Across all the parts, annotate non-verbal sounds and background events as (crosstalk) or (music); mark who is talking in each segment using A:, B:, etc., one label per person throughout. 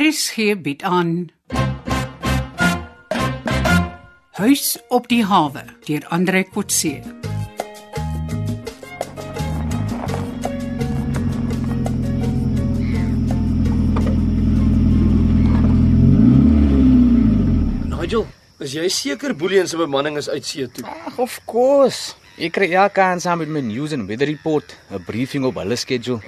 A: RSG bied aan Huis op die hawe deur Andre Kotse.
B: Nigel, is jy seker Boelie en sy bemanning is uit see toe?
C: Ag, of course. Ek kry elke aand saam met my news en weather report 'n briefing op hulle schedule.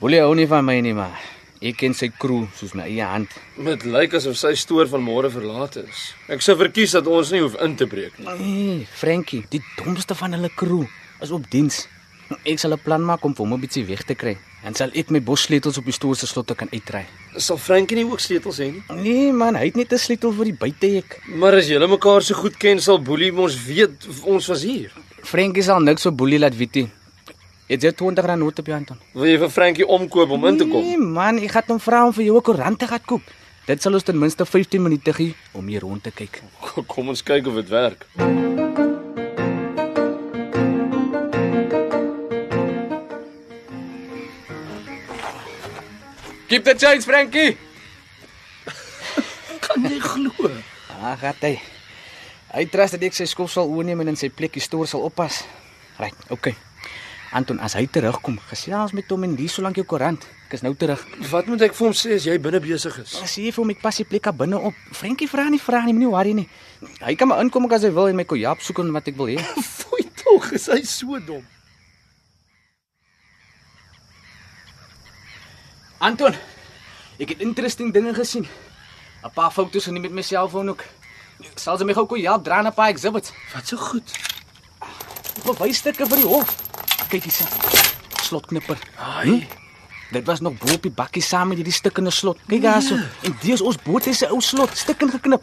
C: Boelie hou nie van my nie, maar ek ken sy crew soos my eie hand.
B: Dit lyk asof sy stoor vanmôre verlaat is. Ek sou verkies dat ons nie hoef in te breek nie.
C: Nee, Frankie, die domste van hulle crew is op diens. Ek sal 'n plan maak om vir hom 'n bietjie weg te kry. Dan sal ek my bossleutels op die stoel se slotte kan uitdry.
B: Sal Frankie nie ook sleutels hê nie?
C: Nee man, hy het net 'n sleutel vir die buitehek.
B: Maar as julle mekaar so goed ken, sal Boelie mos weet of ons was hier.
C: Frankie sal niks vir Boelie laat weet nie. Het jy R20 note op jou hand?
B: Wil jy vir Frankie omkoop om in te kom?
C: Nee man, ek gaan hom vra om vir jou 'n koerant te gaan koop. Dit sal ons ten minste 15 minute gee om hier rond te kyk.
B: Kom ons kyk of dit werk.
C: Keep the change, Frankie.
B: (laughs) Kan jy glo?
C: Ag, gat Ah, hy. Hy trust dat ek sy skof sal oorneem en in sy plekkie stoor sal oppas. Right, okay. Anton, as hy terugkom, gesels met hom en lees solank jou koerant. Ek is nou terug.
B: Wat moet ek vir hom sê as jy binne besig (laughs) is?
C: As jy vir hom ek pas die plek daar binne op. Frankie vra nie vra nie, moenie worry nie. Hy kan my inkom as hy wil en my kojap soek en wat ek wil hê.
B: Fooi tog, is hy so dom?
C: Anton, ek het interesting dinge gesien. 'n Paar foto's geneem met my selfoon ook. Sal jy my gou kojap dra na 'n paar exhibits?
B: Wat so goed.
C: Bewysstukke vir die hof. Kyk hierse. Slotknipper.
B: Haai.
C: Dit was nog bo op die bakkie saam met hierdie stukkende slot. Kyk daarso. En dis ons boot is 'n ou slot, stukkend geknip.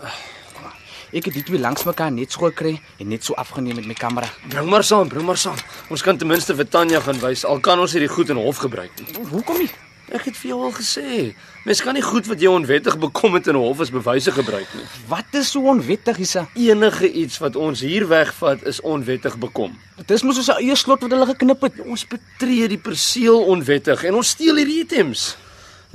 C: Ek het die twee langs mekaar net so gekry en net so afgeneem met my kamera.
B: Bring maar saam, bring maar saam. Ons kan ten minste vir Tanya gaan wys al kan ons hierdie goed in hof gebruik nie.
C: Hoekom nie?
B: Ek het vir jou al gesê, mens kan nie goed wat jy onwettig bekom het in hof as bewyse gebruik nie.
C: Wat is so onwettig hierse?
B: Enige iets wat ons hier wegvat is onwettig bekom. Ja,
C: Dis mos ons eie slot wat hulle geknip het.
B: Ons betree die perseel onwettig en ons steel hierdie items.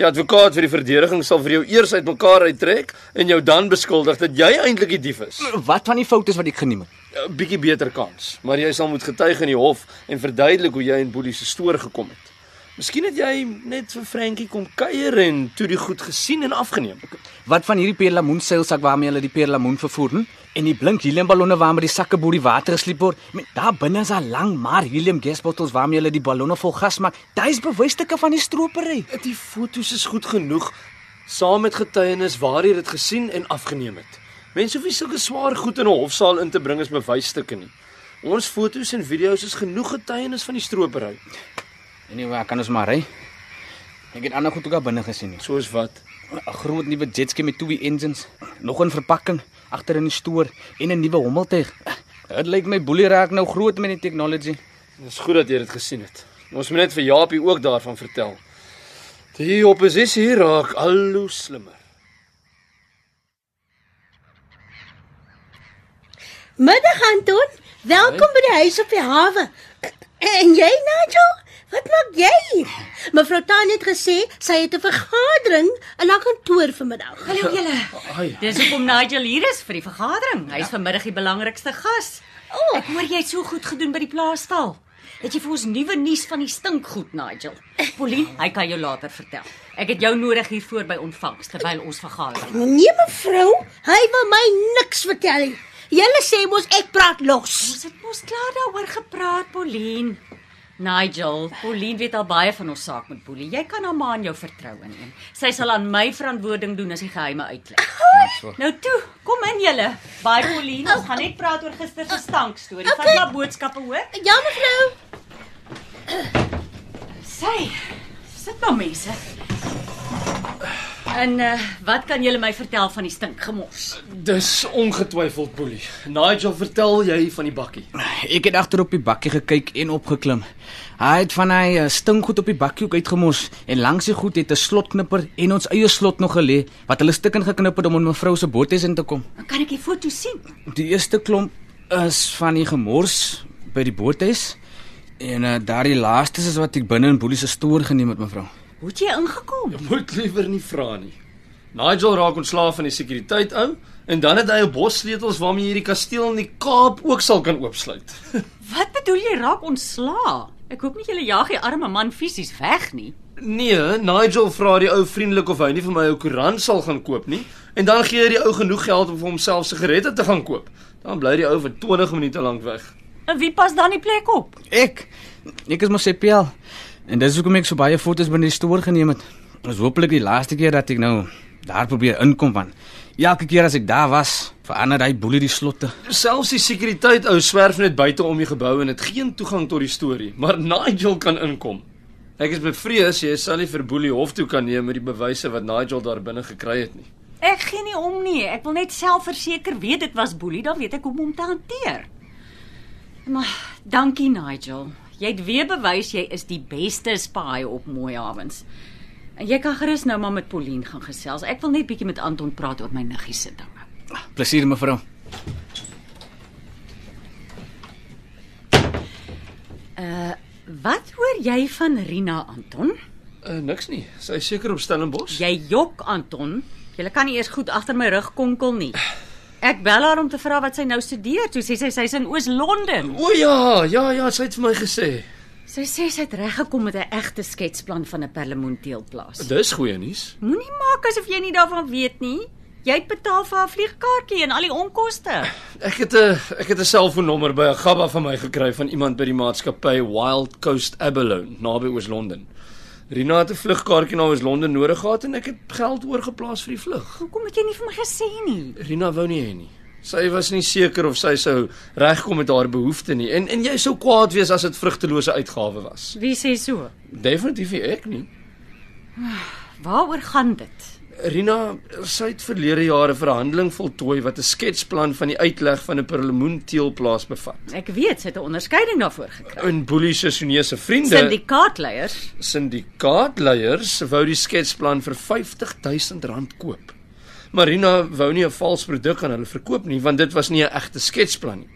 B: Die advokaat vir die verdediging sal vir jou eers uitmekaar uittrek en jou dan beskuldig dat jy eintlik die dief is.
C: Wat van die foutes wat ek geneem het?
B: 'n Bietjie beter kans, maar jy sal moet getuig in die hof en verduidelik hoe jy in Boelie se stoor gekom het. Miskien het jy net vir Frankie kom kuier en toe die goed gesien en afgeneem.
C: Wat van hierdie perlemoenseilsak waarmee hulle die perlemoen vervoer hm? en die blink heliumballonne waarmee die sakke bo die water gesliep word? Met daar binne is daar lang maar helium gasbottels waarmee hulle die ballonne vol gas maak. Dis bewysstukke van die stropery.
B: Die fotos is goed genoeg saam met getuienis waar jy dit gesien en afgeneem het. Mense hoef nie sulke swaar goed in 'n hofsaal in te bring as bewysstukke nie. Ons fotos en video's is genoeg getuienis van die stropery.
C: Anyway, kan ons maar ry. Ek het ander goed ook daar binne gesien. nie.
B: Soos wat?
C: 'n Groot nuwe jetski met twee engines, nog 'n verpakking agter in die stoor en 'n nuwe hommeltuig. Dit lyk my boelie raak nou groot met die technology.
B: Dis goed dat jy dit gesien het. Ons moet net vir Japie ook daarvan vertel. Die oppositie raak al hoe slimmer.
D: Middag Anton, welkom by die huis op die hawe. En jy Nigel, wat maak jy hier? Mevrou Tanya het gesê sy het 'n vergadering in haar kantoor vanmiddag.
E: Hallo julle.
B: Ai,
E: Dis hoekom Nigel hier is vir die vergadering. Hy's vanmiddag die belangrikste gas.
D: O.
E: Ek hoor jy het so goed gedoen by die plaastal. Het jy vir ons nuwe nuus van die stinkgoed, Nigel? Pauline, hy kan jou later vertel. Ek het jou nodig hiervoor by ontvangs terwyl ons vergader.
D: Nee mevrou, hy wil my niks vertel nie. Julle sê mos ek praat los.
E: Ons het mos klaar daaroor gepraat, Pauline. Nigel, Pauline weet al baie van ons saak met Boelie. Jy kan haar ma aan jou vertrou inneem. Sy sal aan my verantwoording doen as die geheime uitlek. Nou toe, kom in julle. Baie Pauline, ons gaan net praat oor gister se stank storie. Vat
D: Okay.
E: maar boodskappe hoor.
D: Ja mevrou,
E: Sy, sit nou mense. En uh, wat kan julle my vertel van die stinkgemors?
B: dis ongetwyfeld boelie. Nigel, vertel jy van die bakkie.
C: Ek het agter op die bakkie gekyk en opgeklim. Hy het van hy eh, stinkgoed op die bakkie ook uitgemors en langs die goed het 'n slotknipper en ons eie slot nog gelê wat hulle stukkend geknip het om in mevrou se boothuis in te kom.
E: Kan ek die foto sien?
C: Die eerste klomp is van die gemors by die boothuis en uh, daardie laaste is wat ek binne in Boelie se stoor geneem het mevrou.
B: (laughs)
E: Hoe het jy ingekom?
B: Moet liewer nie vra nie. Nigel raak ontslaaf van die sekuriteit ou en dan het hy 'n bos sleutels waarmee hierdie kasteel in die Kaap ook sal kan oopsluit.
E: Wat bedoel jy raak ontslaa? Ek hoop nie jy jaag die arme man fisies weg nie.
B: Nee, Nigel vra die ou vriendelik of hy nie vir my 'n koerant sal gaan koop nie en dan gee hy die ou genoeg geld om vir homself sigarette te gaan koop. Dan bly die ou vir 20 minute lank weg.
E: En wie pas dan die plek op?
C: Ek ek is mos CPL. En dis hoekom ek so baie fotos binne die stoor geneem het. Dis hopelik die laaste keer dat ek nou daar probeer inkom van. Elke keer as ek daar was, verander hy boelie die slotte.
B: Selfs die sekuriteit ou swerf net buite om die gebou en het geen toegang tot die storie, maar Nigel kan inkom. Ek is bevrees jy sal nie vir Boelie hof toe kan neem met die bewyse wat Nigel daar binne gekry het nie.
E: Ek gee nie om nie. Ek wil net self verseker weet dit was Boelie, dan weet ek hoe om hom te hanteer. Maar dankie Nigel. Jy het weer bewys jy is die beste spy op Mooi Havens. En jy kan gerus nou maar met Pauline gaan gesels. Ek wil net bietjie met Anton praat oor my niggie se dinge.
C: Plesier mevrou.
E: Wat hoor jy van Rina Anton?
B: Uh, niks nie. Sy is seker op Stellenbosch.
E: Jy jok Anton. Jy kan nie eers goed agter my rug konkel nie. Ek bel haar om te vra wat sy nou studeer. Toe sê sy sy's in Oos-London.
B: O ja, ja ja, sy het vir my gesê.
E: Sy sê sy het reggekom met 'n egte sketsplan van 'n perlemoenteelplaas.
B: Dis goeie nuus.
E: Moenie maak asof jy nie daarvan weet nie. Jy het betaal vir haar vliegkaartjie en al die onkoste.
B: Ek het 'n ek het 'n selfoonnommer by 'n gabba van my gekry van iemand by die maatskappy Wild Coast Abalone naby Oos-London. Rina het 'n vlugkaartjie na Oos-London nodig gehad en ek het geld oorgeplaas vir die vlug.
E: Hoekom het jy nie vir my gesê nie?
B: Rina wou nie hê nie. Sy was nie seker of sy sou regkom met haar behoeftes nie en en jy sou kwaad wees as dit vrugtelose uitgawe was.
E: Wie sê so?
B: Definitief nie ek nie.
E: Waaroor gaan dit?
B: Rina, sy het verlede jare 'n verhandeling voltooi wat 'n sketsplan van die uitleg van 'n perlemoenteelplaas bevat.
E: Ek weet sy het 'n onderskeiding daarvoor gekry.
B: In Boelie se Sunese vriende,
E: Syndikaatleiers.
B: sindikaatleiers wou die sketsplan vir R50000 koop. Marina wou nie 'n vals produk aan hulle verkoop nie, want dit was nie 'n egte sketsplan nie.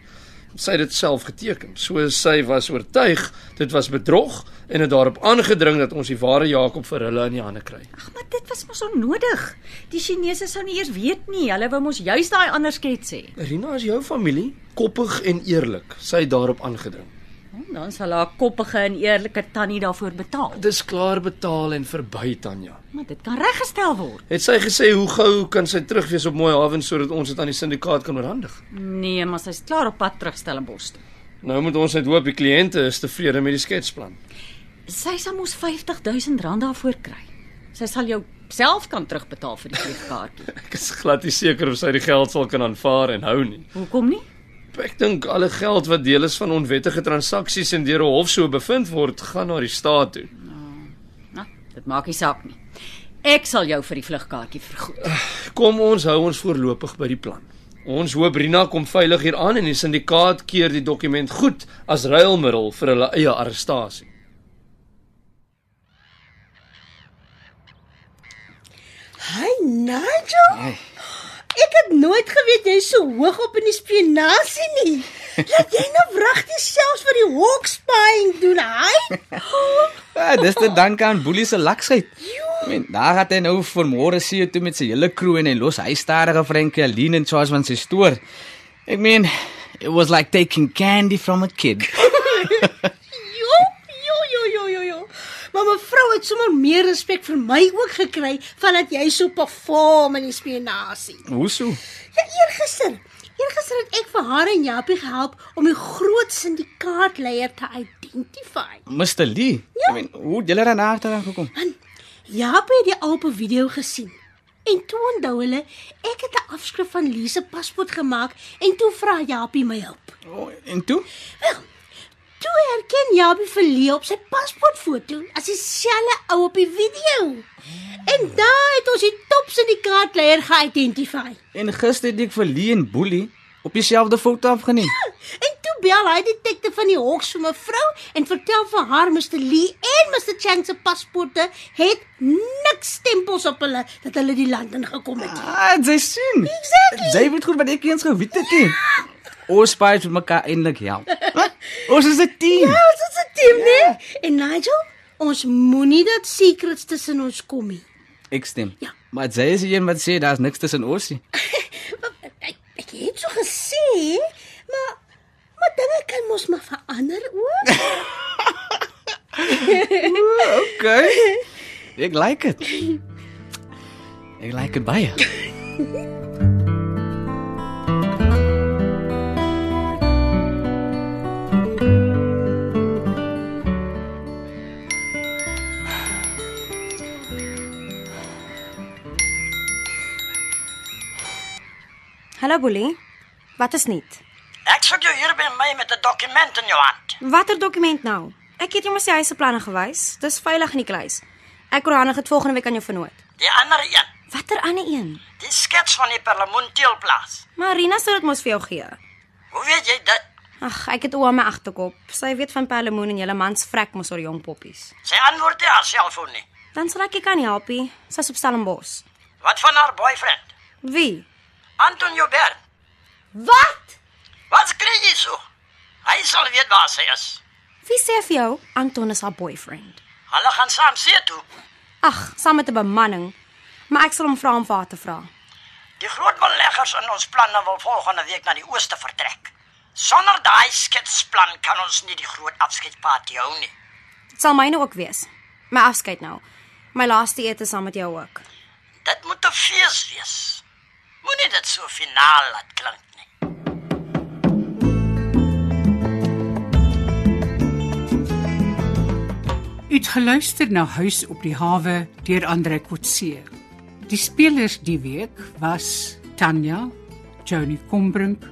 B: Sy het dit self geteken. So sy was oortuig dit was bedrog en het daarop aangedring dat ons die ware Jakob vir hulle in die hande kry.
E: Ag, maar dit was mos onnodig. Die Chinese sou nie eers weet nie. Hulle wou mos juis daai ander skets hê.
B: Marina is jou familie, koppig en eerlik. Sy het daarop aangedring.
E: Hm, Dan sal haar koppige en eerlike tannie daarvoor betaal.
B: Dis klaar betaal en verby Tanya.
E: Maar dit kan reggestel word.
B: Het sy gesê hoe gou kan sy terug wees op Mooi Haven sodat ons dit aan die sindikaat kan oorhandig?
E: Nee, maar sy's klaar op pad terug Stellenbosch toe.
B: Nou moet ons net hoop die kliënte is tevrede met die sketsplan. (laughs)
E: Sy sal mos R50000 daarvoor kry. Sy sal jou self kan terugbetaal vir die vliegkaartjie.
B: Ek is glad nie seker of sy die geld sal kan aanvaar en hou nie.
E: (laughs) Hoekom nie?
B: Ek dink alle geld wat deel is van onwettige transaksies en deur 'n hof so bevind word, gaan na die staat toe.
E: Nou, dit maak nie saak nie. Ek sal jou vir die vliegkaartjie vergoed.
B: Kom ons hou ons voorlopig by die plan. Ons hoop Rina kom veilig hier aan en die sindikaat keer die dokument goed as ruilmiddel vir hulle eie arrestasie.
D: Hi Nigel. Ek het nooit geweet jy's so hoog op in die spionasie nie. Laat jy nou wragtig selfs vir die hawk spying doen, hy?
C: Ja, dis te danke aan Boelie se laksheid. Ek meen, daar het hy nou vanmôre see toe met sy hele crew en hy los hy stadige Frankie Aline in charge van sy stoor. Ek meen, it was like taking candy from a kid.
D: Jo, jo, jo, jo, jo, jo. Maar mevrou het sommer meer respek vir my ook gekry vandat jy so perform in die spionasie.
C: Hoe so?
D: Ja, eergister. Eergister het ek vir haar en Japie gehelp om die groot sindikaatleier te identify.
C: Mr Lee. Ja. Ek meen, hoe het julle daar na agteraan gekom?
D: Japie het die oupe video gesien. En toe onthou hulle, ek het 'n afskrif van Lise se paspoort gemaak en toe vra Japie my hulp.
C: Oh, en toe?
D: Toe herken Japie vir Lee op sy paspoortfoto as dieselfde ou op die video. En daar het ons die top sindikaatleier geïdentifieer.
C: En gister het ek vir Lee en Boelie op dieselfde foto afgeneem.
D: En toe bel hy detektief van die Hawks vir mevrou en vertel vir haar Mr Lee en Mr Chang se paspoorte het niks stempels op hulle dat hulle die land ingekom het.
C: Ah, jy sien.
D: Exactly.
C: Jy weet goed wat ek eens gewet het nie. Ons spaar met mekaar eintlik help. Ons is 'n team.
D: Ja, ons is 'n team, né? En Nigel, ons moenie dat secrets tussen ons kom nie.
C: Ek stem.
D: Ja,
C: Maar sy is die een wat sê daar's niks tussen ons
D: (laughs)
C: nie.
D: Ek, ek het so gesê, maar maar dinge kan mos maar verander ook.
C: Okay. Ek like dit. Ek like dit baie.
F: Hallo Boelie. Wat is nuut?
G: Ek soek jou hier by my met 'n dokument in jou hand.
F: Watter dokument nou? Ek het jou mos die huiseplanne gewys. Dis veilig in die kluis. Ek oorhandig dit volgende week aan jou vernoot.
G: Die ander een,
F: Watter ander een?
G: die skets van die perlemoenteelplaas.
F: Marina sou dit mos vir jou gee.
G: Hoe weet jy dit?
F: Ag, ek het oom aan my agterkop. Sy weet van perlemoen en julle man se vrek mos oor jong poppies.
G: Sy antwoord nie haar selfoon nie.
F: Dan sal ek jou kan help. ie. Sy's op Stellenbosch.
G: Wat van haar boyfriend?
F: Wie?
G: Anton Joubert.
D: Wat?
G: Wat skree jy so? Hy sal weet waar sy is.
F: Wie sê vir jou Anton is haar boyfriend?
G: Hulle gaan saam see toe.
F: Ag, saam met 'n bemanning. Maar ek sal hom vra om vir haar te vra.
G: Die groot beleggers in ons planne wil volgende week na die ooste vertrek. Sonder daai sketsplan kan ons nie die groot afskeidsparty hou nie.
F: Dit sal myne ook wees. My afskeid nou. My laaste ete saam met jou ook.
G: Dit moet 'n fees wees. Moenie dit so finaal laat klink nie.
A: U het geluister na Huis op die hawe deur Andre Kotse. Die spelers die week was Tanya, Johnny Combrink,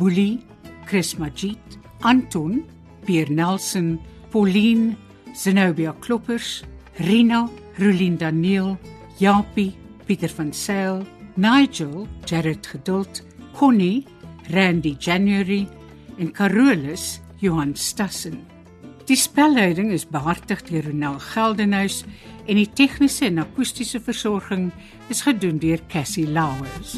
A: Boelie, Chris Magid, Anton, Pierre Nelson, Pauline, Zenobia Kloppers, Rina, Rulien Daniel, Japie, Pieter van Sail, Nigel, Jared Geduld, Connie, Randy January en Carolus Johan Stassen. Die spelleiding is behartig deur Ronel Geldenhuys en die tegniese en akoestiese versorging is gedoen deur Cassie Lauers.